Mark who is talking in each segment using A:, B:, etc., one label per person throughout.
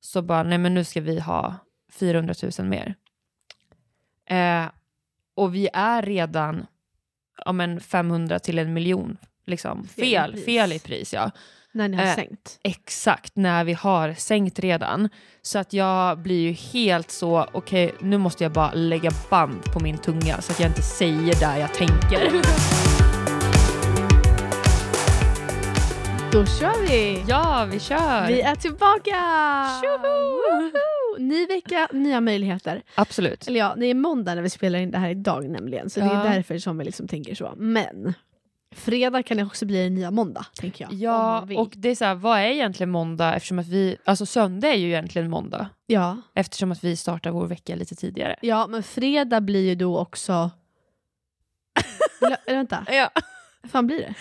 A: så bara, nej men nu ska vi ha 400 000 mer. Eh, och vi är redan ja, men 500 till en miljon. Liksom.
B: Fel i
A: Fel,
B: pris.
A: fel i pris. Ja.
B: När ni har
A: Eh,
B: sänkt.
A: Exakt, när vi har sänkt redan. Så att jag blir ju helt så, okej nu måste jag bara lägga band på min tunga så att jag inte säger där jag tänker.
B: Då kör vi!
A: Ja, vi kör!
B: Vi är tillbaka!
A: Tjoho!
B: Woho! Ny vecka, nya möjligheter.
A: Absolut.
B: Eller ja, det är måndag när vi spelar in det här idag nämligen. Så det
A: Ja.
B: är därför som vi liksom tänker så. Men fredag kan det också bli den nya måndag, tänker jag. Om
A: Ja,
B: man vill.
A: och det är så här, vad är egentligen måndag? Eftersom att vi, alltså söndag är ju egentligen måndag.
B: ja,
A: Eftersom att vi startar vår vecka lite tidigare.
B: ja, men fredag blir ju då också... Lö- äh, vänta,
A: Ja,
B: vad fan blir det?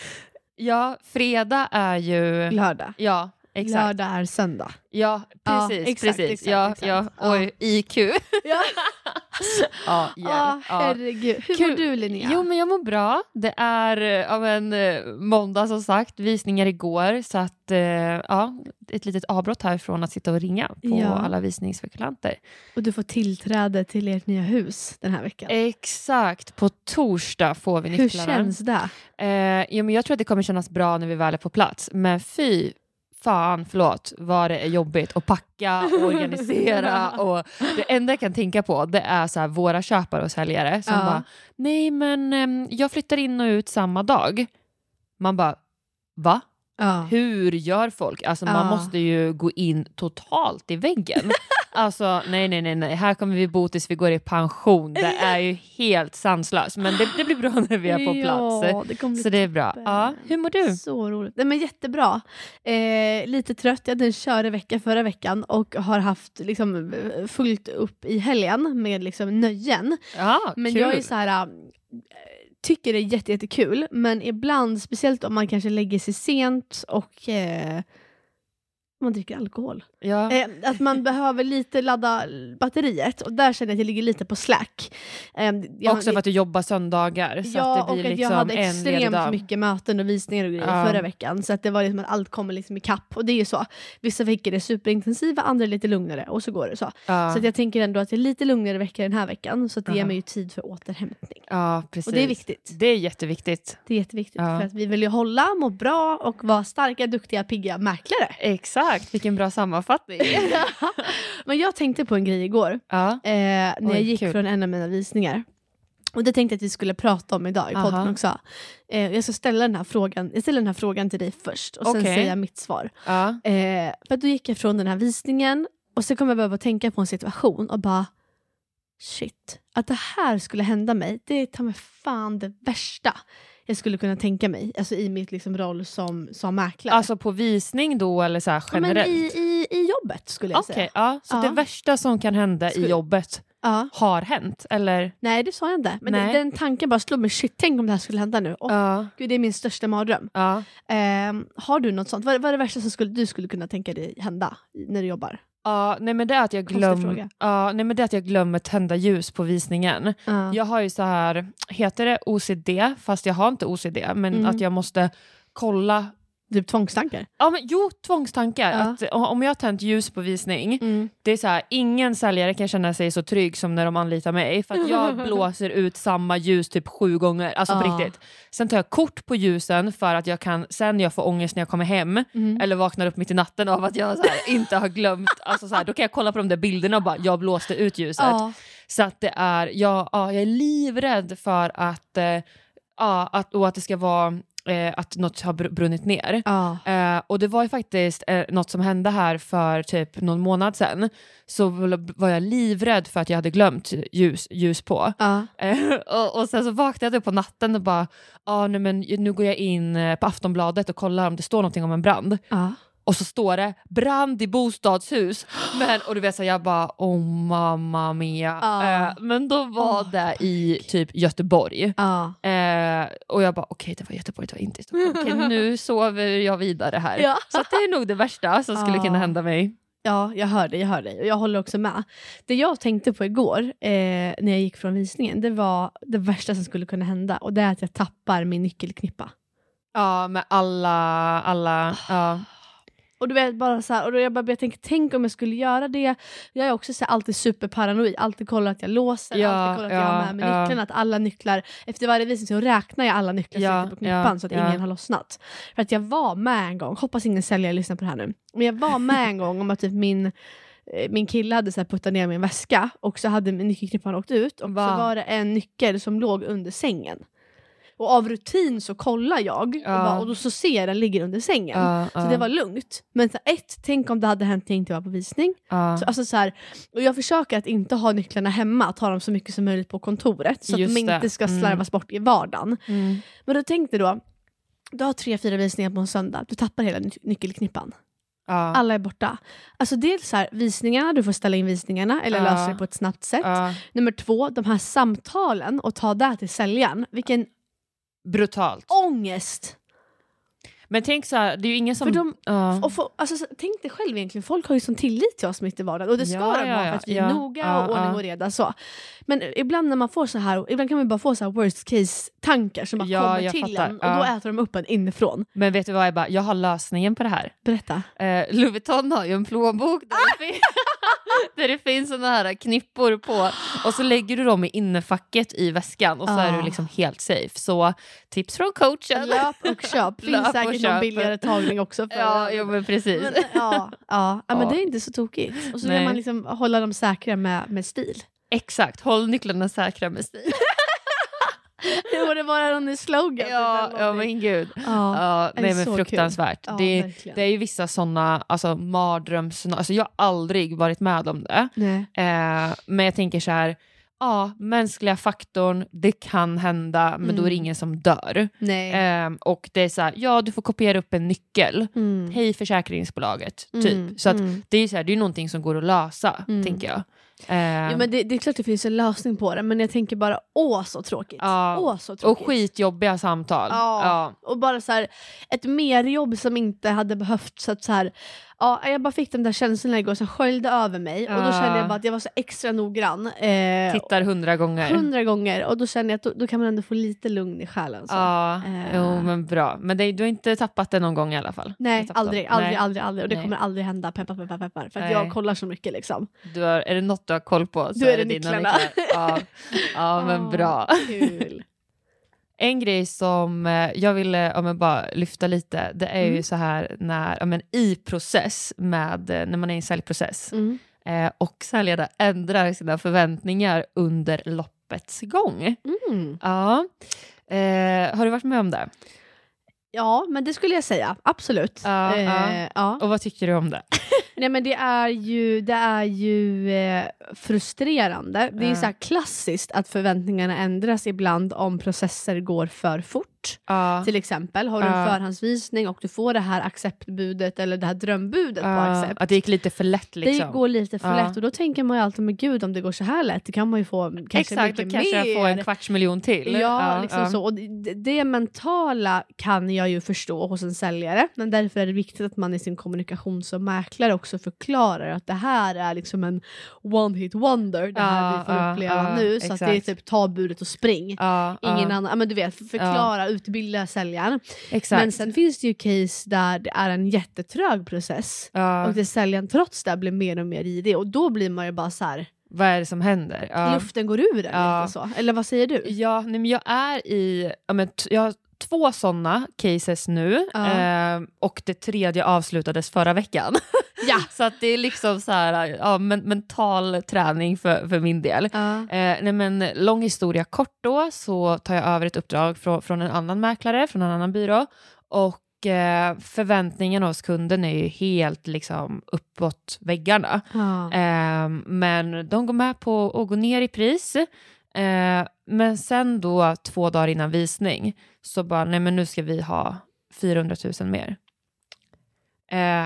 A: ja fredag är ju...
B: Lördag.
A: Ja, exakt.
B: Lördag är söndag.
A: Ja,
B: Ja,
A: precis.
B: exakt,
A: precis.
B: exakt,
A: ja,
B: exakt.
A: ja.
B: Ja.
A: Oj, IQ.
B: Ja,
A: ja, hjälp. ja.
B: herregud. Hur
A: Kul.
B: mår du Linnea?
A: Jo, men jag mår bra. Det är eh, ja, men, eh, måndag som sagt, visningar igår. Så att, eh, ja, ett litet avbrott här från att sitta och ringa på
B: Ja.
A: alla visningsspekulanter.
B: Och du får tillträde till ert nya hus den här
A: Eh,
B: veckan.
A: Exakt, på torsdag får vi
B: Hur
A: nycklarna.
B: känns det?
A: Eh, jo, men jag tror att det kommer kännas bra när vi väl är på plats, men fy fan, förlåt, vad det är jobbigt att packa och organisera. och det enda jag kan tänka på det är så här, våra köpare och säljare som
B: Ja.
A: bara, nej men ehm, jag flyttar in och ut samma dag. Man bara, va?
B: Ja.
A: Hur gör folk? Alltså man
B: Ja.
A: måste ju gå in totalt i väggen. Alltså nej, nej, nej, nej, här kommer vi bo tills vi går i pension. Det är ju helt sanslöst. Men det, det blir bra när vi är på plats.
B: Ja, det kommer bli
A: Så det är bra.
B: toppen.
A: Ja, hur mår du?
B: Så roligt. Nej, men jättebra. Eh, lite trött, jag hade en körig vecka förra veckan och har haft liksom, fullt upp i helgen med liksom, nöjen.
A: Ja,
B: Men
A: kul.
B: jag är så här, äh, tycker det är jätte, jättekul, men ibland, speciellt om man kanske lägger sig sent och eh, man dricker alkohol.
A: ja.
B: Eh, att man behöver lite ladda batteriet och där känner jag att jag ligger lite på slack. Eh, jag-
A: Också för att du jobbar söndagar. Så
B: ja,
A: att det blir
B: och att
A: liksom
B: jag hade
A: en ledig
B: extremt
A: dag.
B: mycket möten och visningar och grejer
A: Ja.
B: förra veckan. Så att det var liksom att allt kommer liksom ikapp. Och det är ju så. Vissa veckor är superintensiva, andra är lite lugnare och så går det så.
A: Ja,
B: Så att jag tänker ändå att det är lite lugnare veckor den här veckan. Så att det ger
A: Aha.
B: mig ju tid för återhämtning.
A: ja, precis.
B: Och det är viktigt.
A: Det är jätteviktigt.
B: Det är jätteviktigt
A: Ja.
B: för att vi vill ju hålla, må bra och vara starka, duktiga, pigga mäklare.
A: Exakt, vilken bra sammanfattning.
B: Men jag tänkte på en grej igår.
A: ja.
B: eh, när jag
A: Oj,
B: gick
A: kul.
B: från en av mina visningar. Och det tänkte jag att vi skulle prata om idag i podden
A: Aha.
B: också. Eh, jag ska ställa den här frågan, jag ställer den här frågan till dig först och sen
A: Okej.
B: säger jag mitt svar.
A: Ja.
B: Eh, för att då gick jag från den här visningen och så kom jag behöva tänka på en situation och bara shit, att det här skulle hända mig, det är ta mig fan det värsta jag skulle kunna tänka mig. Alltså i mitt liksom, roll som, som mäklare.
A: Alltså på visning då eller så här
B: Ja, men i,
A: generellt?
B: i, I jobbet skulle jag
A: Okej,
B: säga.
A: ja. Så
B: Ja.
A: det värsta som kan hända
B: Skulle-
A: i jobbet
B: Ja.
A: har hänt? Eller?
B: Nej det sa jag inte. Men
A: Nej.
B: den tanken bara slog mig, shit tänk om det här skulle hända nu. Åh,
A: Ja.
B: Gud, det är min största mardröm.
A: Ja.
B: Ehm, har du något sånt? Vad, vad är det värsta som skulle, du skulle kunna tänka dig hända i- när du jobbar?
A: Ja, nej men det är att jag
B: Konstig
A: glömmer
B: fråga.
A: ja, nej men det är att jag glömmer tända ljus på visningen.
B: Ja.
A: Jag har ju så här, heter det OCD? Fast jag har inte OCD, men
B: Mm.
A: att jag måste kolla.
B: Typ tvångstankar?
A: Ja, men, jo, tvångstankar.
B: Ja. Mm.
A: Att, o- om jag har tänt ljus på visning, det är så här, ingen säljare kan känna sig så trygg som när de anlitar mig. För att jag blåser ut samma ljus typ sju gånger, alltså på
B: Ja.
A: riktigt. Sen tar jag kort på ljusen för att jag kan, sen jag får ångest när jag kommer hem,
B: Mm.
A: eller vaknar upp mitt i natten av att jag så här, inte har glömt. Alltså så här, då kan jag kolla på de där bilderna och bara, jag blåste ut ljuset.
B: Ja.
A: Så att det är, ja, ja, jag är livrädd för att, eh, ja, att, och att det ska vara eh, att något har br- brunnit ner.
B: Ja.
A: Eh, och det var ju faktiskt eh, något som hände här för typ någon månad sedan. Så v- var jag livrädd för att jag hade glömt ljus, ljus på.
B: Ja.
A: Eh, och, och sen så vaknade jag på natten och bara, ah, nej, men nu går jag in eh, på Aftonbladet och kollar om det står någonting om en brand.
B: Ja.
A: Och så står det brand i bostadshus. Men, och du vet så jag bara oh mamma mia.
B: Ja.
A: Eh, men då var
B: Åh,
A: det i typ Göteborg.
B: Ja.
A: Eh, och jag bara okej det var Göteborg, det var inte i Stockholm. Okej, nu sover jag vidare här.
B: Ja.
A: Så att det är nog det värsta som skulle
B: Ja.
A: kunna hända mig.
B: Ja, jag hör dig, jag hör dig. Och jag håller också med. Det jag tänkte på igår eh, när jag gick från visningen, det var det värsta som skulle kunna hända. Och det är att jag tappar min nyckelknippa.
A: Oh, Ja med alla, alla, ja.
B: Och du vet, bara så här, och då jag bara började tänka, tänk om jag skulle göra det. Jag är också så här, alltid superparanoid, alltid kollar att jag låser,
A: Ja,
B: alltid kollar att jag
A: ja,
B: har med mig
A: ja.
B: nycklarna, att alla nycklar, efter varje visning så räknar jag alla nycklar som
A: Ja,
B: sitter på knippan
A: ja,
B: så att
A: ja.
B: ingen har lossnat. För att jag var med en gång, hoppas ingen säljare lyssnar på det här nu, men jag var med en gång om att typ min eh, min kille hade så här puttat ner min väska och så hade min nyckelknippan åkt ut och
A: Va?
B: så var det en nyckel som låg under sängen. Och av rutin så kollar jag och,
A: Ja.
B: bara, och då så ser jag den ligger under sängen.
A: Ja,
B: Så
A: ja,
B: det var lugnt. Men så här, ett, tänk om det hade hänt när jag inte var på visning.
A: ja.
B: Så, alltså, så här, och jag försöker att inte ha nycklarna hemma, att ha dem så mycket som möjligt på kontoret. Så
A: Just
B: att de
A: det.
B: inte ska
A: Mm.
B: slarvas bort i vardagen.
A: Mm.
B: Men då tänkte då, du har tre, fyra visningar på en söndag, du tappar hela ny- nyckelknippan.
A: Ja.
B: Alla är borta. Alltså dels så här, visningarna, du får ställa in visningarna eller
A: Ja.
B: lösa det på ett snabbt sätt.
A: Ja.
B: Nummer två, de här samtalen och ta det till säljaren. Vilken
A: Brutalt.
B: ångest!
A: Men tänk så här, det är ju ingen som...
B: För de-
A: ja.
B: Och få, alltså, så- tänk dig själv egentligen, folk har ju sån tillit till oss mitt i vardagen och det ska
A: Ja,
B: de
A: ja,
B: ha
A: ja,
B: för att vi
A: ja,
B: är noga
A: ja,
B: och ordning
A: ja.
B: och reda. Så. Men ibland när man får så här, ibland kan man bara få så här worst case tankar som bara
A: Ja,
B: kommer
A: jag
B: till
A: fattar.
B: en och
A: Ja.
B: då äter de upp en inifrån.
A: Men vet du vad Ebba, jag har lösningen på det här.
B: Berätta.
A: Eh, Louis Vuitton har ju en plånbok där, det,
B: Ah!
A: finns, där det finns såna här knippor på och så lägger du dem i innefacket i väskan och så är
B: Ah.
A: du liksom helt safe. Så tips från coachen.
B: Löp och köp.
A: Löp
B: Finns
A: och
B: säkert
A: köp.
B: någon billigare tagning också. För
A: Ja, jo, men precis.
B: Men, ja, ja. ja, men
A: Ja.
B: det är inte så tokigt. Och så
A: Nej.
B: vill man liksom hålla dem säkra med, med stil.
A: Exakt, håll nycklarna säkra med stil.
B: Det borde vara någon slogan.
A: ja,
B: eller
A: ja,
B: någonting.
A: men gud.
B: ja.
A: typ, Ja,
B: det
A: nej,
B: är
A: men
B: så kul.
A: fruktansvärt.
B: Ja,
A: det,
B: verkligen.
A: det är ju vissa såna alltså, mardrömsscenarion. Alltså, jag har aldrig varit med om det.
B: Nej.
A: Eh, men jag tänker så här, ja, mänskliga faktorn, det kan hända, men då är det
B: Mm.
A: ingen som dör.
B: Nej.
A: Eh, och det är så här, ja, du får kopiera upp en nyckel.
B: Mm.
A: Hej försäkringsbolaget, typ.
B: Mm,
A: Så att
B: mm.
A: det är ju så här, det är ju någonting som går att lösa,
B: Mm.
A: tänker jag. Eh,
B: Ja, men det, det är klart det finns en lösning på det, men jag tänker bara åh så tråkigt.
A: Ja.
B: Åh så
A: och
B: tråkigt.
A: skitjobbiga samtal.
B: Ja.
A: Ja.
B: Och bara så här, ett merjobb som inte hade behövts. Så att så här, ja, jag bara fick den där känslan igår som sköljde över mig och
A: Ja.
B: då kände jag bara att jag var så extra noggrann. Eh,
A: Tittar hundra gånger.
B: hundra gånger och då känner jag att då, då kan man ändå få lite lugn i själen. Så.
A: Ja,
B: Eh.
A: jo men bra. Men det, du har inte tappat det någon gång i alla fall?
B: Nej,
A: Inte tappat
B: aldrig,
A: dem.
B: aldrig,
A: Nej.
B: aldrig, aldrig. Och det
A: Nej.
B: kommer aldrig hända. Peppar, peppar, peppar. För att
A: Nej.
B: jag kollar så mycket liksom.
A: Du har, är det något du har koll på så
B: Då är det
A: dina
B: nycklarna.
A: Ja. ja, men
B: Ah,
A: bra.
B: Kul.
A: En grej som eh, jag ville ja, men bara lyfta lite, det är ju
B: Mm.
A: så här när, ja, men i process, med, eh, när man är i en säljprocess
B: Mm.
A: eh, och säljare ändrar sina förväntningar under loppets gång.
B: Mm.
A: Ja. Eh, har du varit med om det?
B: Ja, men det skulle jag säga. Absolut.
A: Ja,
B: eh,
A: ja.
B: ja.
A: Och vad tycker du om det?
B: Nej, men det är ju, det är ju eh, frustrerande. Det är
A: Ja.
B: ju så här klassiskt att förväntningarna ändras ibland om processer går för fort.
A: Ja.
B: Till exempel, har du en
A: Ja.
B: förhandsvisning och du får det här acceptbudet eller det här drömbudet på
A: Ja,
B: accept.
A: att det gick lite för lätt liksom.
B: Det går lite för
A: Ja.
B: lätt och då tänker man ju alltid, men gud om det går så här lätt, det kan man ju få kanske
A: Exakt, då
B: mycket
A: kanske
B: mer.
A: jag får en kvarts miljon till.
B: Ja, liksom så. Och det, det mentala kan jag ju förstå hos en säljare, men därför är det viktigt att man i sin kommunikation som mäklare också förklarar att det här är liksom en one hit wonder, det här
A: Ja,
B: vi får
A: ja,
B: uppleva
A: ja,
B: nu. Så att det är
A: exakt.
B: typ ta budet och spring.
A: Ja,
B: Ingen
A: ja,
B: annan, ja, men du vet, förklara, utbilda säljaren.
A: Exakt.
B: Men sen finns det ju case där det är en jättetrög process
A: ja,
B: och det säljaren trots det blir mer och mer i och då blir man ju bara så här,
A: vad är det som händer? Ja.
B: luften går ur en
A: Ja.
B: lite så. Eller vad säger du?
A: Ja, nej, men jag är i... Ja, men t- jag har två såna cases nu
B: Ja.
A: eh, och det tredje avslutades förra veckan.
B: Ja!
A: så att det är liksom så här, ja, men, mental träning för, för min del.
B: Ja.
A: Eh, nej men, lång historia kort då så tar jag över ett uppdrag från, från en annan mäklare, från en annan byrå. Och eh, förväntningen hos kunden är ju helt liksom, uppåt väggarna.
B: Ja.
A: Eh, men de går med på att gå ner i pris. Eh, men sen då två dagar innan visning så bara, nej men nu ska vi ha 400 000 mer. Eh,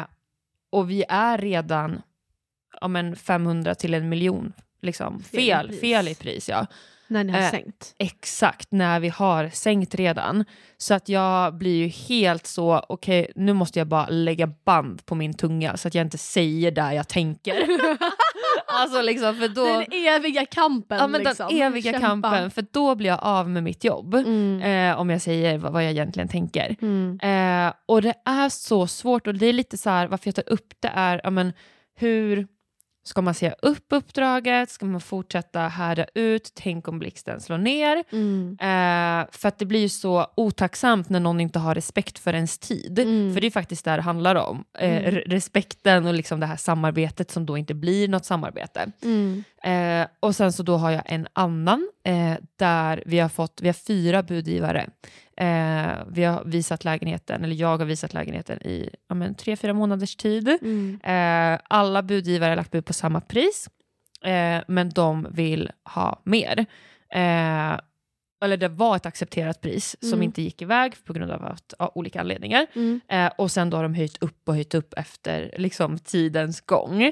A: och vi är redan ja, men 500 till en miljon. Liksom.
B: Fel i
A: Fel,
B: pris.
A: fel i pris. Ja.
B: När ni har
A: Eh,
B: sänkt.
A: Exakt när vi har sänkt redan. Så att jag blir ju helt så, okej nu måste jag bara lägga band på min tunga så att jag inte säger det jag tänker. Alltså liksom för då...
B: Den eviga kampen.
A: Ja, men
B: liksom.
A: Den eviga
B: Kämpa.
A: kampen, för då blir jag av med mitt jobb.
B: Mm.
A: Eh, om jag säger vad, vad jag egentligen tänker.
B: Mm.
A: Eh, och det är så svårt och det är lite så här, varför jag tar upp det är, ja men hur ska man se upp uppdraget? Ska man fortsätta härda ut? Tänk om blixten slår ner?
B: Mm.
A: Eh, för att det blir ju så otacksamt när någon inte har respekt för ens tid.
B: Mm.
A: För det är faktiskt det det handlar om. Eh,
B: Mm.
A: re- Respekten och liksom det här samarbetet som då inte blir något samarbete.
B: Mm.
A: Eh, och sen så då har jag en annan eh, där vi har fått, vi har fyra budgivare. Eh, vi har visat lägenheten, eller jag har visat lägenheten i ja, men, tre, fyra månaders tid.
B: Mm.
A: Eh, alla budgivare har lagt bud på samma pris, eh, men de vill ha mer. Eh, eller det var ett accepterat pris som
B: Mm.
A: inte gick iväg på grund av att, av olika anledningar.
B: Mm.
A: Eh, och sen då har de höjt upp och höjt upp efter liksom, tidens gång.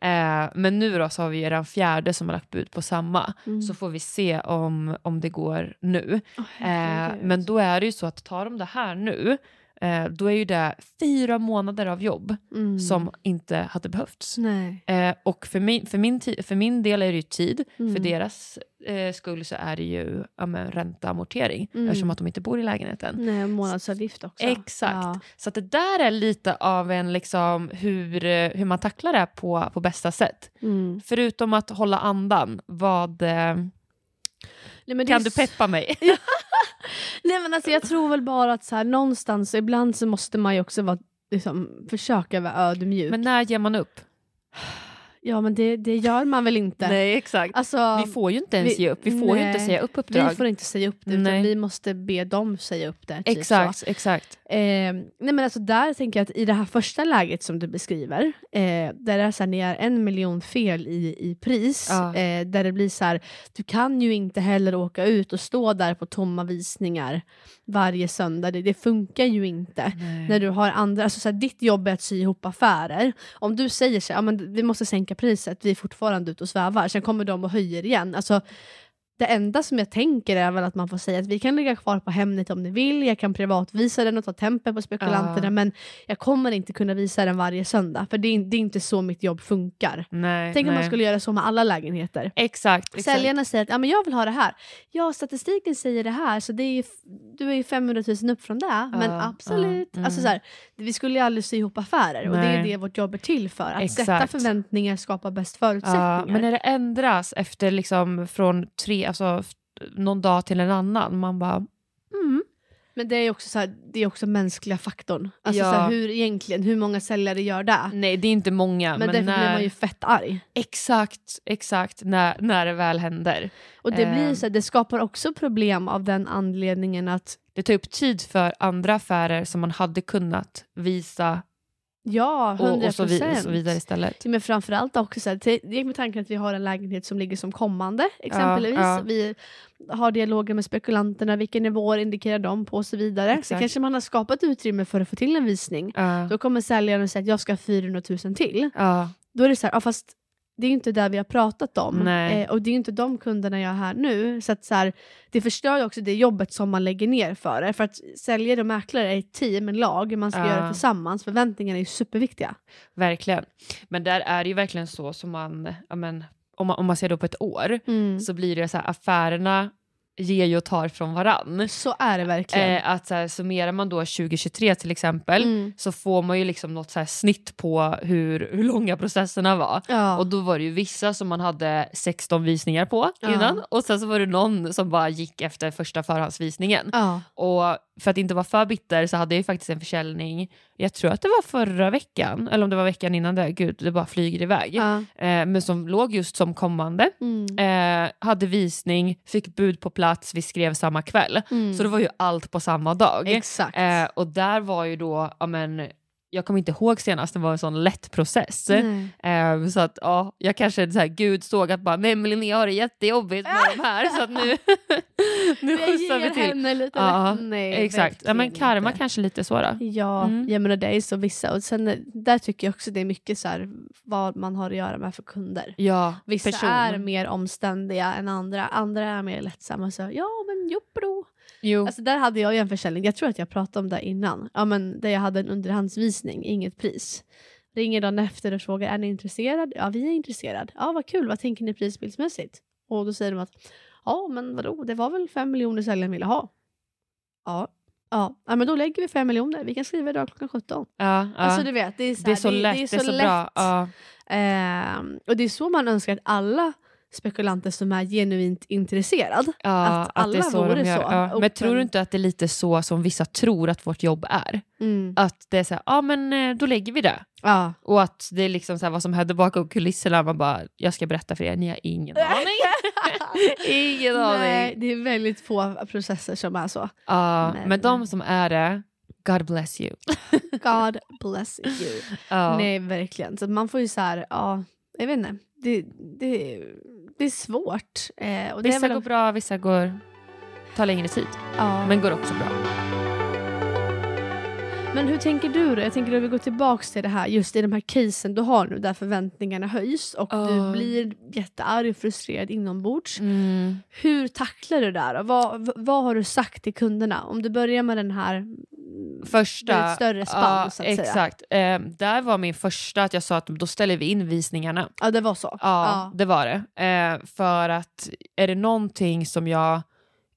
A: Eh, men nu då så har vi ju den fjärde som har lagt bud på samma.
B: Mm.
A: Så får vi se om, om det går nu.
B: Åh,
A: Eh,
B: herregud.
A: men då är det ju så att tar de det här nu, eh, då är ju det fyra månader av jobb
B: Mm.
A: som inte hade behövts.
B: Nej.
A: Eh, och för min, för, min ti- för min del är det ju tid,
B: Mm.
A: för deras eh, skull så är det ju ja, men, ränta och amortering
B: Mm.
A: eftersom att de inte bor i lägenheten.
B: Nej, månadsavgift också.
A: Exakt.
B: Ja.
A: Så att det där är lite av en liksom, hur, eh, hur man tacklar det här på, på bästa sätt.
B: Mm.
A: Förutom att hålla andan, vad eh,
B: Nej, men det är
A: kan du
B: s-
A: peppa mig?
B: Nej, men alltså, jag tror väl bara att så här, någonstans, ibland så måste man ju också vara, liksom, försöka vara ödmjuk.
A: Men när ger man upp?
B: ja, men det, det gör man väl inte?
A: Nej exakt.
B: Alltså,
A: Vi får ju inte ens
B: Vi-
A: ge upp, vi får ju inte
B: nej.
A: säga upp
B: vi
A: uppdrag.
B: får inte säga upp det, utan
A: Nej.
B: vi måste be dem säga upp det. typ så.
A: Exakt, exakt.
B: Eh, nej men alltså där tänker jag att i det här första läget som du beskriver, eh, där det är så här, ni är en miljon fel i, i pris,
A: Ja.
B: eh, där det blir så här, du kan ju inte heller åka ut och stå där på tomma visningar varje söndag, det, det funkar ju inte. När du har andra, alltså så här, ditt jobb är att sy ihop affärer. Om du säger så här, ja, men vi måste sänka priset, vi är fortfarande ute och svävar, sen kommer de och höjer igen. Alltså, det enda som jag tänker är väl att man får säga att vi kan ligga kvar på Hemnet om ni vill, jag kan privatvisa den och ta tempen på spekulanterna,
A: Ja.
B: men jag kommer inte kunna visa den varje söndag, för det är, det är inte så mitt jobb funkar.
A: Nej,
B: Tänk om man
A: nej.
B: skulle göra så med alla lägenheter.
A: Exakt. exakt.
B: Säljarna säger att ja, men jag vill ha det här. Ja, statistiken säger det här, så det är ju, du är ju 500 000 upp från det. men
A: ja,
B: absolut.
A: mm.
B: Alltså, så här, vi skulle ju aldrig sy ihop affärer och det är
A: Nej.
B: ju det vårt jobb är till för. Att sätta
A: Exakt.
B: förväntningar skapar bäst
A: Ja,
B: förutsättningar.
A: men när det ändras efter liksom från tre, alltså f- någon dag till en annan, man bara mm.
B: Men det är ju också, så här, det är också mänskliga faktorn. Alltså,
A: Ja.
B: så här, hur, egentligen, hur många säljare gör det?
A: Nej det är inte många,
B: Men,
A: men,
B: därför blir
A: när,
B: man ju fett arg.
A: exakt, exakt när, när det väl händer.
B: Och det, blir
A: Ehm.
B: ju så här, det skapar också problem av den anledningen att
A: Det tar upp tid för andra affärer som man hade kunnat visa
B: ja, 100%.
A: och, och, så, vi, och så vidare istället.
B: Men framförallt också, så här, te- det gick med tanken att vi har en lägenhet som ligger som kommande exempelvis.
A: ja.
B: Vi har dialoger med spekulanterna, vilka nivåer indikerar de på och så vidare. Så
A: Exakt.
B: kanske man har skapat utrymme för att få till en visning.
A: Ja,
B: Då kommer säljaren och säger att jag ska ha 400 000 till.
A: ja,
B: Då är det så här, ja, fast det är ju inte där vi har pratat om.
A: Nej.
B: Eh, och det är ju inte de kunderna jag har här nu. Så att så här, det förstör ju också det jobbet som man lägger ner för det. För att säljare och mäklare är ett team, en lag, man ska
A: Ja.
B: göra det tillsammans. Förväntningarna är ju superviktiga.
A: verkligen. Men där är det ju verkligen så som man, ja, men, om man, om man ser det på ett år, så blir det så här affärerna ger ju och tar från varann.
B: Så är det verkligen.
A: Eh, att så här, summerar man då 2023 till exempel
B: Mm.
A: så får man ju liksom något så här snitt på hur, hur långa processerna var.
B: Ja.
A: Och då var det ju vissa som man hade 16 visningar på
B: Ja.
A: innan och sen så var det någon som bara gick efter första förhandsvisningen.
B: ja.
A: Och för att inte vara för bitter så hade jag ju faktiskt en försäljning, jag tror att det var förra veckan, eller om det var veckan innan det, gud det bara flyger iväg.
B: ja.
A: Eh, men som låg just som kommande,
B: Mm.
A: eh, hade visning, fick bud på plats, vi skrev samma kväll.
B: Mm.
A: Så det var ju allt på samma dag.
B: Exakt.
A: Eh, och där var ju då, ja men, jag kommer inte ihåg senast, det var en sån lätt process.
B: Nej.
A: Eh, så att ja, jag kanske så här, gud såg att bara, nej men Linnea har det jättejobbigt med de här så att nu, nu
B: Jag
A: skjutsar
B: ger
A: vi till.
B: henne lite
A: Ja,
B: lätt- Nej,
A: Exakt, ja, men
B: verkligen
A: karma
B: inte.
A: kanske lite så då.
B: Ja,
A: Mm.
B: jag menar det är så vissa. Och sen eh, där tycker jag också det är mycket så här, vad man har att göra med för kunder.
A: Ja,
B: Vissa
A: person. mm.
B: är mer omständiga än andra, andra är mer lättsamma. Så, ja, men jobbro.
A: Jo.
B: Alltså, där hade jag ju en försäljning, jag tror att jag pratade om det innan, ja, men där jag hade en underhandsvisning, inget pris. Ringer dagen efter och frågar är ni intresserad? Ja, vi är intresserade. Ja, vad kul. Vad tänker ni prisbildsmässigt? Och då säger de att ja, men vadå, det var väl fem miljoner säljaren ville ha. Ja. Ja, ja, men då lägger vi fem miljoner. Vi kan skriva idag klockan 17.
A: Ja, ja.
B: Alltså du vet, det är så,
A: det är så lätt,
B: det är så,
A: bra.
B: lätt.
A: Ja.
B: Ehm, och det är så man önskar att alla spekulanter som är genuint intresserad.
A: Ja,
B: Att alla vore så.
A: Ja. Men
B: Open.
A: tror du inte att det är lite så som vissa tror att vårt jobb är? Att det är så här, ja men eh, då lägger vi det.
B: Ja.
A: Och att det är liksom så här, vad som hände bakom kulisserna, man bara, jag ska berätta för er, ni har ingen aning. ingen
B: Nej,
A: aning.
B: det är väldigt få processer som är så.
A: Ja,
B: Nej.
A: men de som är det, God bless you.
B: God bless you.
A: Ja.
B: Nej, verkligen. Så att man får ju så här, ja, jag vet inte. Det, det, det är svårt. Eh, och det är
A: Vissa
B: väl,
A: går bra, vissa går, tar längre tid,
B: Ja. Men,
A: men går också bra.
B: hur tänker du då? Jag tänker att vi går tillbaka till det här, just i de här casen du har nu där förväntningarna höjs och
A: Ja.
B: du blir jättearg och frustrerad inombords.
A: Mm.
B: Hur tacklar du det här? då? Vad, v- vad har du sagt till kunderna? Om du börjar med den här... mm,
A: första...
B: Det är ett större spann, så att säga.
A: Exakt. Eh, där var min första att jag sa att då ställer vi in visningarna.
B: Ja, det var så.
A: Ja, det var det. Eh, för att är det någonting som jag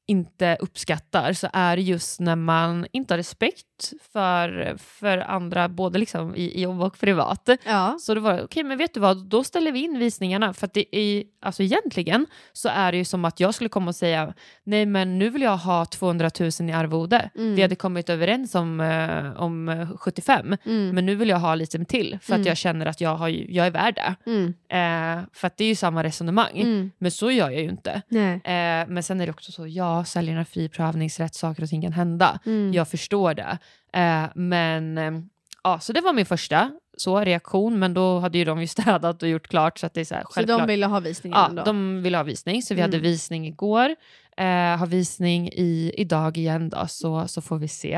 A: inte uppskattar så är det just när man inte har respekt för, för andra, både liksom i, i jobb och privat.
B: ja.
A: Så det var okej, men vet du vad, då ställer vi in visningarna. För att det är, alltså egentligen så är det ju som att jag skulle komma och säga nej men nu vill jag ha 200 000 i arvode.
B: Mm.
A: Vi hade kommit överens om, eh, om eh, 75
B: Mm.
A: men nu vill jag ha lite till för att
B: Mm.
A: jag känner att jag, har, ju- jag är värd det.
B: Mm.
A: Eh, för att det är ju samma resonemang.
B: Mm.
A: Men så gör jag ju inte.
B: Nej.
A: Eh, men sen är det också så, ja, säljarna har fri prövningsrätt, saker och ting kan hända.
B: Mm.
A: Jag förstår det. Eh, men eh, ja, så det var min första så, reaktion, men då hade ju de ju städat och gjort klart så att det är så här,
B: så
A: självklart.
B: de ville ha visningen
A: ja,
B: ändå?
A: de ville ha visning, så vi hade
B: Mm.
A: visning igår. Eh, har visning i, idag igen då, så, så får vi se.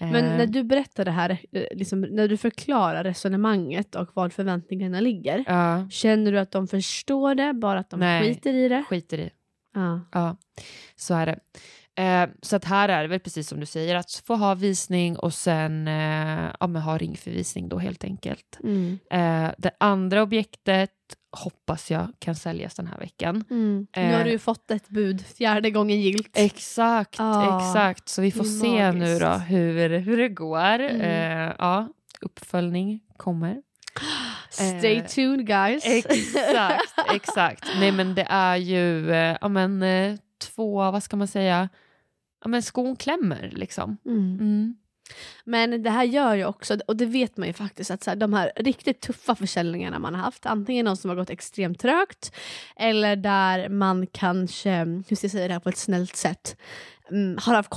A: Eh,
B: Men när du berättar det här, eh, liksom, när du förklarar resonemanget och var förväntningarna ligger,
A: ja,
B: känner du att de förstår det, bara att de
A: Nej.
B: skiter i det?
A: skiter i.
B: Ja.
A: Ja, så är det. Eh, så att här är det väl precis som du säger, att få ha visning och sen eh, ja, men ha ringförvisning då helt enkelt.
B: Mm.
A: Eh, det andra objektet hoppas jag kan säljas den här veckan.
B: Mm. Nu
A: Eh.
B: har du ju fått ett bud, fjärde gången gilt.
A: Exakt,
B: Ah,
A: exakt. Så vi får
B: det är
A: se nu
B: magiskt.
A: då hur, hur det går.
B: Mm.
A: Eh, ja, uppföljning kommer.
B: Stay
A: eh.
B: tuned guys.
A: Exakt, exakt. Nej men det är ju eh, ja, men, eh, två, vad ska man säga, ja, men skon klämmer liksom.
B: Mm.
A: Mm.
B: Men det här gör ju också, och det vet man ju faktiskt, att så här, de här riktigt tuffa försäljningarna man har haft, antingen någon som har gått extremt trögt, eller där man kanske, hur ska jag säga det här på ett snällt sätt, mm, har haft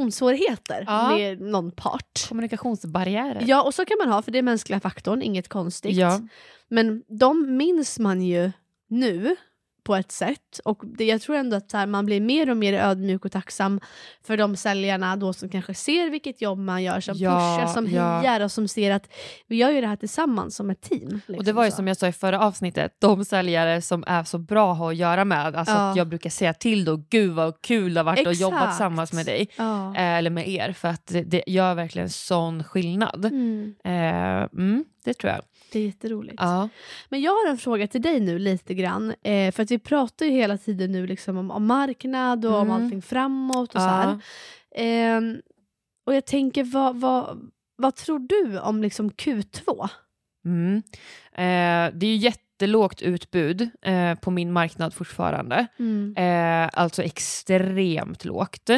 B: kommunikationssvårigheter
A: Ja.
B: med någon part.
A: Kommunikationsbarriärer.
B: Ja, och så kan man ha, för det är mänskliga faktorn, inget konstigt.
A: Ja.
B: Men de minns man ju nu på ett sätt. Och det, jag tror ändå att så här, man blir mer och mer ödmjuk och tacksam för de säljarna då som kanske ser vilket jobb man gör, som
A: Ja,
B: pushar, som
A: ja.
B: hejar och som ser att vi gör ju det här tillsammans som ett team. liksom
A: Och det var ju
B: så.
A: som jag sa i förra avsnittet, de säljare som är så bra att ha att göra med. Alltså
B: Ja.
A: att jag brukar säga till då, gud vad kul det har varit att jobba
B: Exakt.
A: tillsammans med dig.
B: Ja.
A: Eh, Eller med er, för att det, det gör verkligen sån skillnad.
B: Mm,
A: Eh, mm, det tror jag.
B: det är jätteroligt.
A: Ja.
B: Men jag har en fråga till dig nu lite grann. Eh, för att vi pratar ju hela tiden nu liksom om, om marknad och om
A: Mm.
B: allting framåt och så här.
A: Ja.
B: Ehm, och jag tänker, vad, vad, vad tror du om liksom Q2?
A: Mm. Eh, det är ju jättelågt utbud eh, på min marknad fortfarande. Eh, alltså extremt lågt.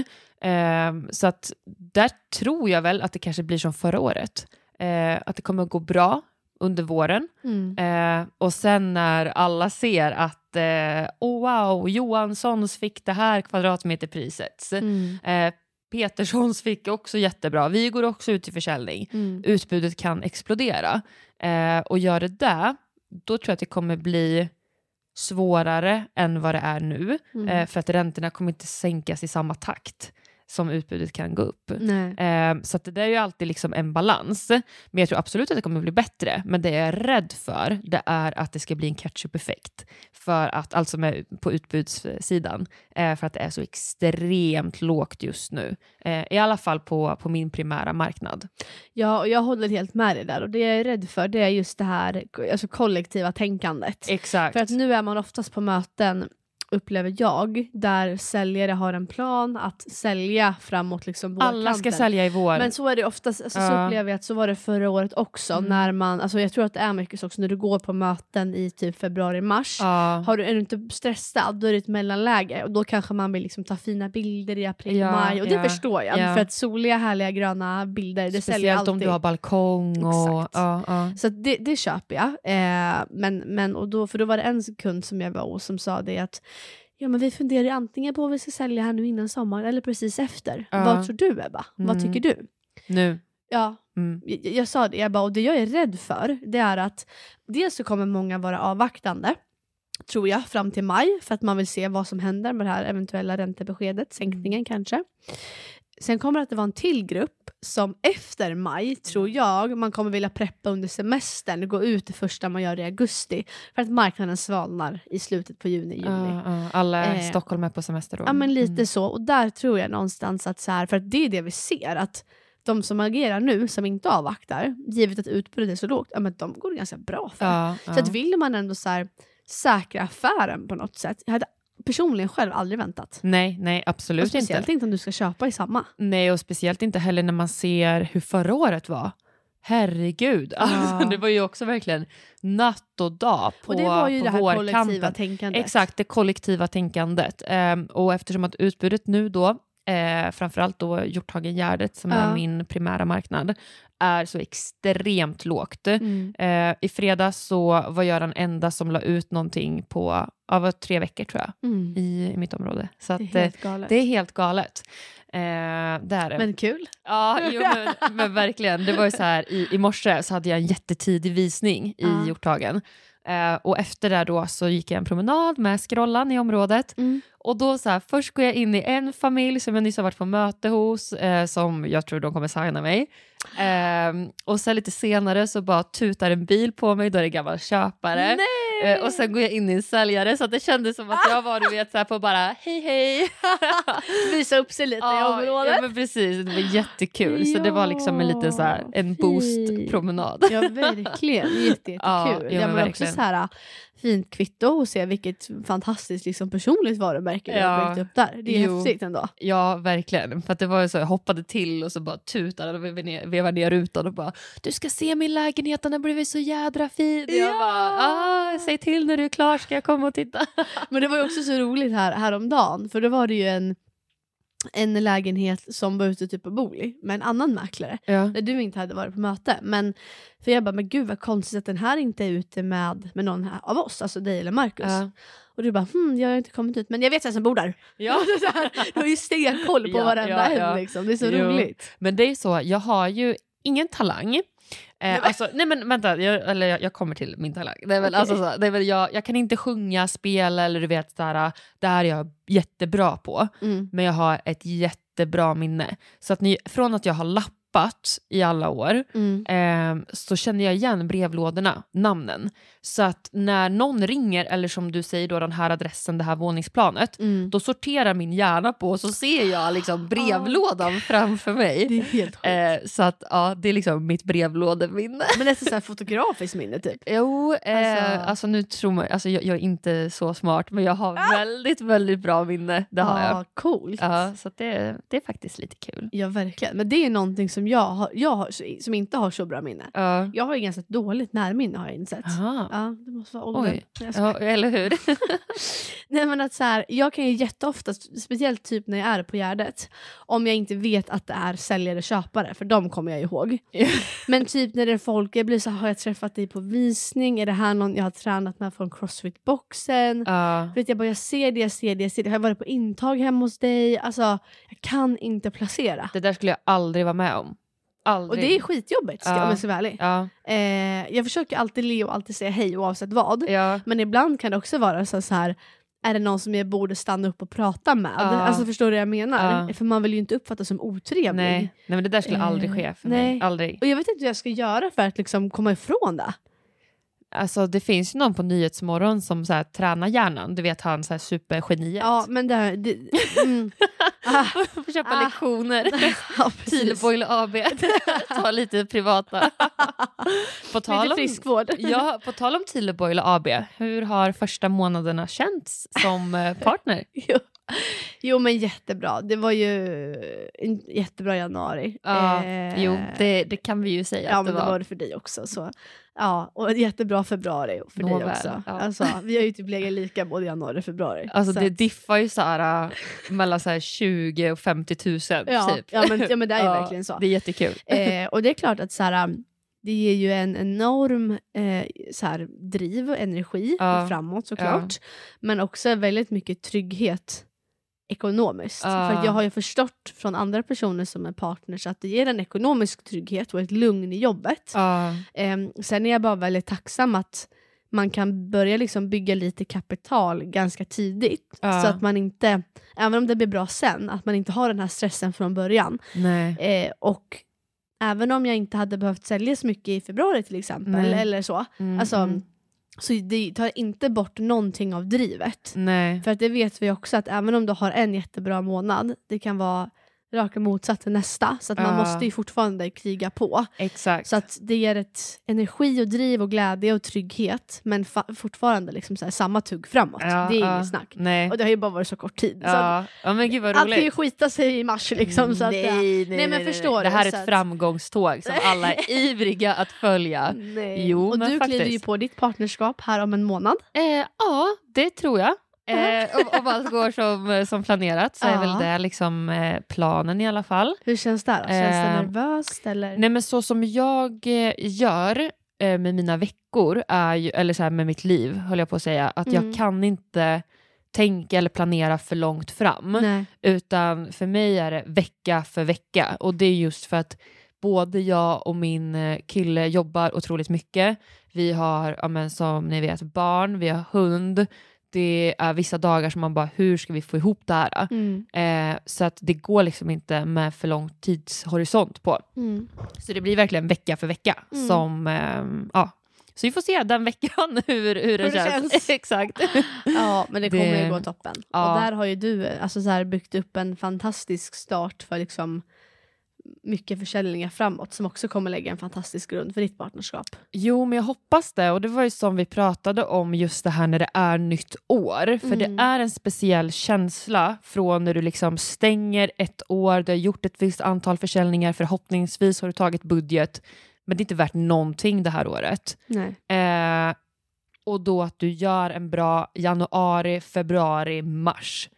A: Eh, så att där tror jag väl att det kanske blir som förra året. Eh, att det kommer att gå bra under våren.
B: Mm.
A: Eh, och sen när alla ser att eh, oh wow, Johanssons fick det här kvadratmeterpriset.
B: Mm.
A: Eh, Peterssons fick också jättebra. Vi går också ut i försäljning
B: Mm.
A: utbudet kan explodera. Eh, och gör det där, då tror jag att det kommer bli svårare än vad det är nu.
B: Mm.
A: Eh, för att räntorna kommer inte sänkas i samma takt. som utbudet kan gå upp.
B: Nej.
A: Eh, så att det där är ju alltid liksom en balans. Men jag tror absolut att det kommer bli bättre. Men det jag är rädd för det är att det ska bli en catch-up-effekt. För att, alltså med, på utbudssidan. Eh, för att det är så extremt lågt just nu. Eh, I alla fall på, på min primära marknad.
B: Ja, och jag håller helt med dig där. Och det jag är rädd för det är just det här alltså kollektiva tänkandet.
A: Exakt.
B: För att nu är man oftast på möten, upplever jag, där säljare har en plan att sälja framåt liksom
A: alla ska
B: vårkanten.
A: sälja i vår.
B: Men så är det oftast, alltså, så
A: Ja.
B: upplever jag att så var det förra året också.
A: Mm.
B: När man, alltså, jag tror att det är mycket så också när du går på möten i typ februari-mars.
A: ja.
B: Har du, är du inte stressad, då är det ett mellanläge och då kanske man vill liksom ta fina bilder i april,
A: Ja,
B: maj. Och det
A: ja,
B: förstår jag,
A: ja.
B: för att soliga, härliga, gröna bilder, det säljer
A: Speciellt
B: alltid.
A: om du har balkong. Och,
B: Exakt.
A: ja, ja.
B: Så att det, det köper jag. Eh, men, men, och då, för då var det en kund som jag var hos som sa det att ja, men vi funderar antingen på om vi ska sälja här nu innan sommaren eller precis efter.
A: Ja.
B: Vad tror du Ebba? Vad
A: Mm.
B: tycker du?
A: Nu.
B: Ja,
A: Mm.
B: jag, jag sa det, jag bara, och det jag är rädd för det är att dels så kommer många vara avvaktande tror jag, fram till maj för att man vill se vad som händer med det här eventuella räntebeskedet, sänkningen kanske. Sen kommer det att det vara en till grupp som efter maj, tror jag, man kommer vilja preppa under semestern, gå ut det första man gör i augusti för att marknaden svalnar i slutet på juni, juli.
A: Ja, ja. Alla i
B: Eh,
A: Stockholm är på semester då.
B: Ja men lite
A: Mm.
B: så. Och där tror jag någonstans att så här, för att det är det vi ser att de som agerar nu som inte avvaktar, givet att utbudet är så lågt, ja men de går det ganska bra för.
A: Ja,
B: Så
A: ja.
B: att vill man ändå så här, säkra affären på något sätt, jag hade personligen själv aldrig väntat.
A: Nej, nej absolut
B: Och
A: inte.
B: speciellt inte om du ska köpa i samma.
A: Nej, och speciellt inte heller när man ser hur förra året var. Herregud, alltså, det var ju också verkligen natt och dag på,
B: och det var ju
A: på
B: det här kollektiva
A: vårkampen.
B: tänkandet.
A: Exakt, det kollektiva tänkandet. Ehm, och eftersom att utbudet nu då, eh, framförallt då Hjorthagen-Gärdet som
B: Ja.
A: är min primära marknad, är så extremt lågt.
B: Mm.
A: Eh, I fredags så var jag den enda som la ut någonting på ja, var tre veckor tror jag,
B: Mm.
A: i, i mitt område. Så
B: Det är
A: att, eh,
B: helt galet.
A: det är helt galet. Eh, det är det.
B: Men kul.
A: Ja, jo, men, men verkligen. Det var ju så här, i, i morse så hade jag en jättetidig visning i
B: Ja.
A: Hjorthagen. Eh, och efter det då så gick jag en promenad med scrollan i området.
B: Mm.
A: Och då så här, först går jag in i en familj som jag nyss har varit på möte hos, eh, som jag tror de kommer signa mig. Ehm, och sen lite senare så bara tutar en bil på mig, då är det en gammal köpare.
B: Nej!
A: Eh, och sen går jag in i en säljare, så att det kändes som att jag var du vet, så här, på bara hej hej.
B: Visa upp sig lite i området.
A: Ja, men precis, det var jättekul. Så det var liksom en liten så här, en
B: Ja, fint.
A: boost-promenad.
B: Ja verkligen, Jätte, jättekul.
A: Ja,
B: Ja,
A: ja, men
B: men också
A: verkligen.
B: så här äh, fint kvitto och se vilket fantastiskt liksom, personligt varumärke du har
A: Ja.
B: byggt upp där. Det är
A: Jo.
B: häftigt ändå.
A: Ja, verkligen. För att det var ju så, jag hoppade till och så bara tutade och vevade ner, vevade ner rutan och bara “du ska se min lägenhet, den har blivit så jädra fin”. Och Jag
B: Ja.
A: bara ah, “säg till när du är klar ska jag komma och titta”.
B: Men det var ju också så roligt här, häromdagen för då var det ju en, en lägenhet som var ute typ på Booli med en annan mäklare.
A: Ja.
B: Där du inte hade varit på möte. Men, för jag bara, men gud vad konstigt att den här inte är ute med, med någon här, av oss, alltså dig eller Marcus.
A: Ja.
B: Och du bara, hm, jag har inte kommit ut men jag vet vem som bor där.
A: ja.
B: Så här, Du har ju stenkoll på
A: Ja,
B: varenda
A: ja, ja.
B: en liksom. Det är så
A: Jo.
B: roligt.
A: Men det är så, jag har ju ingen talang.
B: men-
A: Eh, alltså, nej men vänta, jag, eller jag, jag kommer till min talang. Det är väl,
B: Okej.
A: alltså, så, det är väl jag, jag kan inte sjunga, spela eller du vet, där, det här är jag jättebra på.
B: Mm.
A: Men jag har ett jättebra minne. Så att ni, från att jag har lappat i alla år
B: Mm.
A: eh, så känner jag igen brevlådorna, namnen. Så att när någon ringer, eller som du säger då den här adressen, det här våningsplanet,
B: Mm.
A: då sorterar min hjärna på och så ser jag liksom brevlådan framför mig.
B: Ah. Det är helt sjukt.
A: Eh, så att ja, det är liksom mitt brevlådeminne.
B: Men nästan såhär fotografiskt minne typ.
A: Jo, eh,
B: Alltså-
A: alltså. nu tror man, alltså jag, jag är inte så smart men jag har väldigt, väldigt bra minne. Det har jag.
B: ah, coolt.
A: Ja, så att det, det är faktiskt lite kul.
B: Ja verkligen. Men det är någonting som jag, har, jag har, som inte har så bra minne.
A: Ja.
B: Jag har ju ganska dåligt närminne har jag insett. Ja, det måste vara åldern.
A: Oj.
B: Nej, jag skojar.
A: Ja, eller hur?
B: Nej men att så här, jag kan ju jätteofta, speciellt typ när jag är på Gärdet, om jag inte vet att det är säljare och köpare, för de kommer jag ihåg. Men typ när det är folk, jag blir så här, har jag träffat dig på visning? Är det här någon jag har tränat med från Crossfit-boxen?
A: Ja.
B: Vet jag, bara, jag ser det, jag ser det, jag ser det. Har jag varit på intag hemma hos dig? Alltså, jag kan inte placera.
A: Det där skulle jag aldrig vara med om. Aldrig.
B: Och det är skitjobbigt ska,
A: Ja.
B: om jag ska vara ärlig.
A: Ja,
B: Eh, jag försöker alltid le och alltid säga hej oavsett vad.
A: ja,
B: Men ibland kan det också vara så så här är det någon som jag borde stanna upp och prata med? Alltså förstår du vad jag menar?
A: Ja.
B: För man vill ju inte uppfattas som otrevlig.
A: Nej. Nej, men det där skulle
B: Eh,
A: aldrig ske för
B: nej.
A: mig. Aldrig.
B: Och jag vet inte hur jag ska göra för att liksom komma ifrån det.
A: Alltså, det finns ju någon på Nyhetsmorgon som så här, tränar hjärnan. Du vet han så här, supergeniet.
B: Ja, men det... det mm. ah,
A: Får köpa
B: Ah.
A: lektioner.
B: ja, precis.
A: Tilevoil AB. Ta lite privata. på tal
B: Lite
A: om,
B: friskvård.
A: ja, på tal om Tilevoil AB, hur har första månaderna känts som eh, partner?
B: Jo. jo, men jättebra. Det var ju en jättebra januari.
A: Ja,
B: Eh,
A: jo, det, det kan vi ju säga
B: Ja,
A: att det
B: men det
A: var.
B: var det för dig också. Så. Ja, och ett jättebra februari för dig
A: Nåväl,
B: också.
A: ja.
B: Alltså, vi har ju typ legat lika både januari och februari.
A: Alltså
B: Så
A: det
B: att-
A: diffar ju så här, äh, mellan så här 20 och 50 000
B: ja,
A: typ.
B: ja, men, ja, men det är ju
A: Ja,
B: verkligen så.
A: Det är jättekul.
B: Eh, och det är klart att så här, um, det ger ju en enorm eh, så här, driv och energi
A: Ja.
B: framåt såklart. Men också väldigt mycket trygghet ekonomiskt.
A: Ja.
B: För att jag har ju förstått från andra personer som är partners att det ger en ekonomisk trygghet och ett lugn i jobbet.
A: Ja,
B: Ehm, sen är jag bara väldigt tacksam att man kan börja liksom bygga lite kapital ganska tidigt.
A: Ja.
B: Så att man inte, även om det blir bra sen, att man inte har den här stressen från början.
A: nej.
B: Eh, och även om jag inte hade behövt sälja så mycket i februari till exempel,
A: Nej.
B: eller så,
A: Mm,
B: alltså,
A: mm,
B: så det tar inte bort någonting av drivet.
A: nej.
B: För att det vet vi också att även om du har en jättebra månad, det kan vara raka motsatsen nästa. Så att man
A: Ja.
B: måste ju fortfarande kriga på.
A: Exakt.
B: Så att det ger ett energi och driv och glädje och trygghet men fa- fortfarande liksom så här, samma tugg framåt.
A: Ja,
B: det är
A: ja,
B: inget snack.
A: Nej.
B: Och det har ju bara varit så kort tid. Så att
A: Ja. ja, men gud vad
B: allt kan ju
A: roligt. Mm,
B: skita sig i mars liksom. Så att,
A: nej,
B: ja.
A: nej,
B: men förstår
A: Det
B: du,
A: här
B: så
A: är ett
B: att-
A: framgångståg som alla är ivriga att följa.
B: Nej.
A: Jo,
B: och
A: men
B: du kliver ju
A: faktiskt.
B: på ditt partnerskap här om en månad.
A: Eh, ja, det tror jag. Eh, om, om allt går som, eh, som planerat så är
B: Ja.
A: väl det liksom, eh, planen i alla fall.
B: Hur känns det? Då? Känns det
A: Eh,
B: nervöst? Eller?
A: Nej men så som jag eh, gör eh, med mina veckor, är ju, eller så här med mitt liv höll jag på att säga, att
B: Mm.
A: jag kan inte tänka eller planera för långt fram.
B: Nej.
A: Utan för mig är det vecka för vecka. Och det är just för att både jag och min eh, kille jobbar otroligt mycket. Vi har, ja, men, som ni vet, barn, vi har hund. Det är vissa dagar som man bara, hur ska vi få ihop det här?
B: Mm.
A: Eh, så att det går liksom inte med för lång tidshorisont på.
B: Mm.
A: Så det blir verkligen vecka för vecka.
B: Mm.
A: Som, ehm, ja. Så vi får se den veckan hur, hur, det,
B: det
A: känns.
B: känns.
A: Exakt.
B: Ja, men det
A: Det-
B: kommer ju gå toppen.
A: Ja.
B: Och där har ju du eh, alltså, så här, byggt upp en fantastisk start för liksom, mycket försäljningar framåt som också kommer lägga en fantastisk grund för ditt partnerskap.
A: Jo, men jag hoppas det. Och det var ju som vi pratade om just det här när det är nytt år. För
B: Mm.
A: det är en speciell känsla från när du liksom stänger ett år, du har gjort ett visst antal försäljningar, förhoppningsvis har du tagit budget, men det är inte värt någonting det här året.
B: Nej.
A: Eh, och då att du gör en bra januari, februari, mars.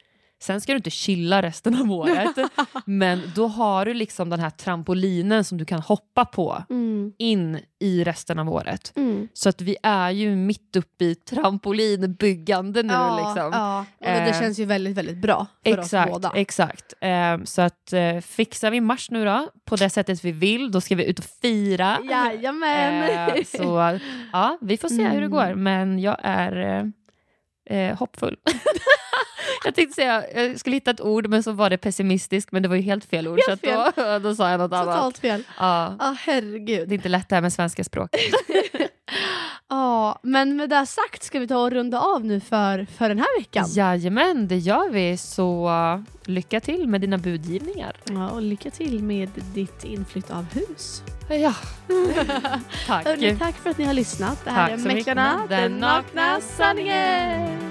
A: Sen ska du inte chilla resten av året, men då har du liksom den här trampolinen som du kan hoppa på
B: Mm.
A: in i resten av året.
B: Mm.
A: Så att vi är ju mitt uppe i trampolinbyggande nu.
B: ja,
A: liksom.
B: ja. Och det, det
A: Eh,
B: känns ju väldigt, väldigt bra för oss
A: Exakt,
B: båda.
A: exakt. Eh, så att eh, fixar vi mars nu då, på det sättet vi vill, då ska vi ut och fira.
B: Jajamän!
A: Eh, så ja, vi får se hur det
B: Mm.
A: går. Men jag är eh, eh, hoppfull. jag tänkte säga, jag skulle hitta ett ord men så var det pessimistisk men det var ju helt fel ord. så
B: Helt
A: att Då, då sa jag något annat.
B: Totalt fel.
A: Ja,
B: Ja, herregud.
A: det är inte lätt det här med svenska språket.
B: Ja, men med det sagt ska vi ta och runda av nu för, för den här veckan.
A: Jajamän, det gör vi. Så eh, lycka till med dina budgivningar.
B: Ja, och lycka till med ditt inflytt av hus.
A: Ja. Tack.
B: Hörrni, tack för att ni har lyssnat. Det här
A: Tack
B: är
A: så mycket.
B: Mäklarna,
A: Den
B: den nakna sanningen.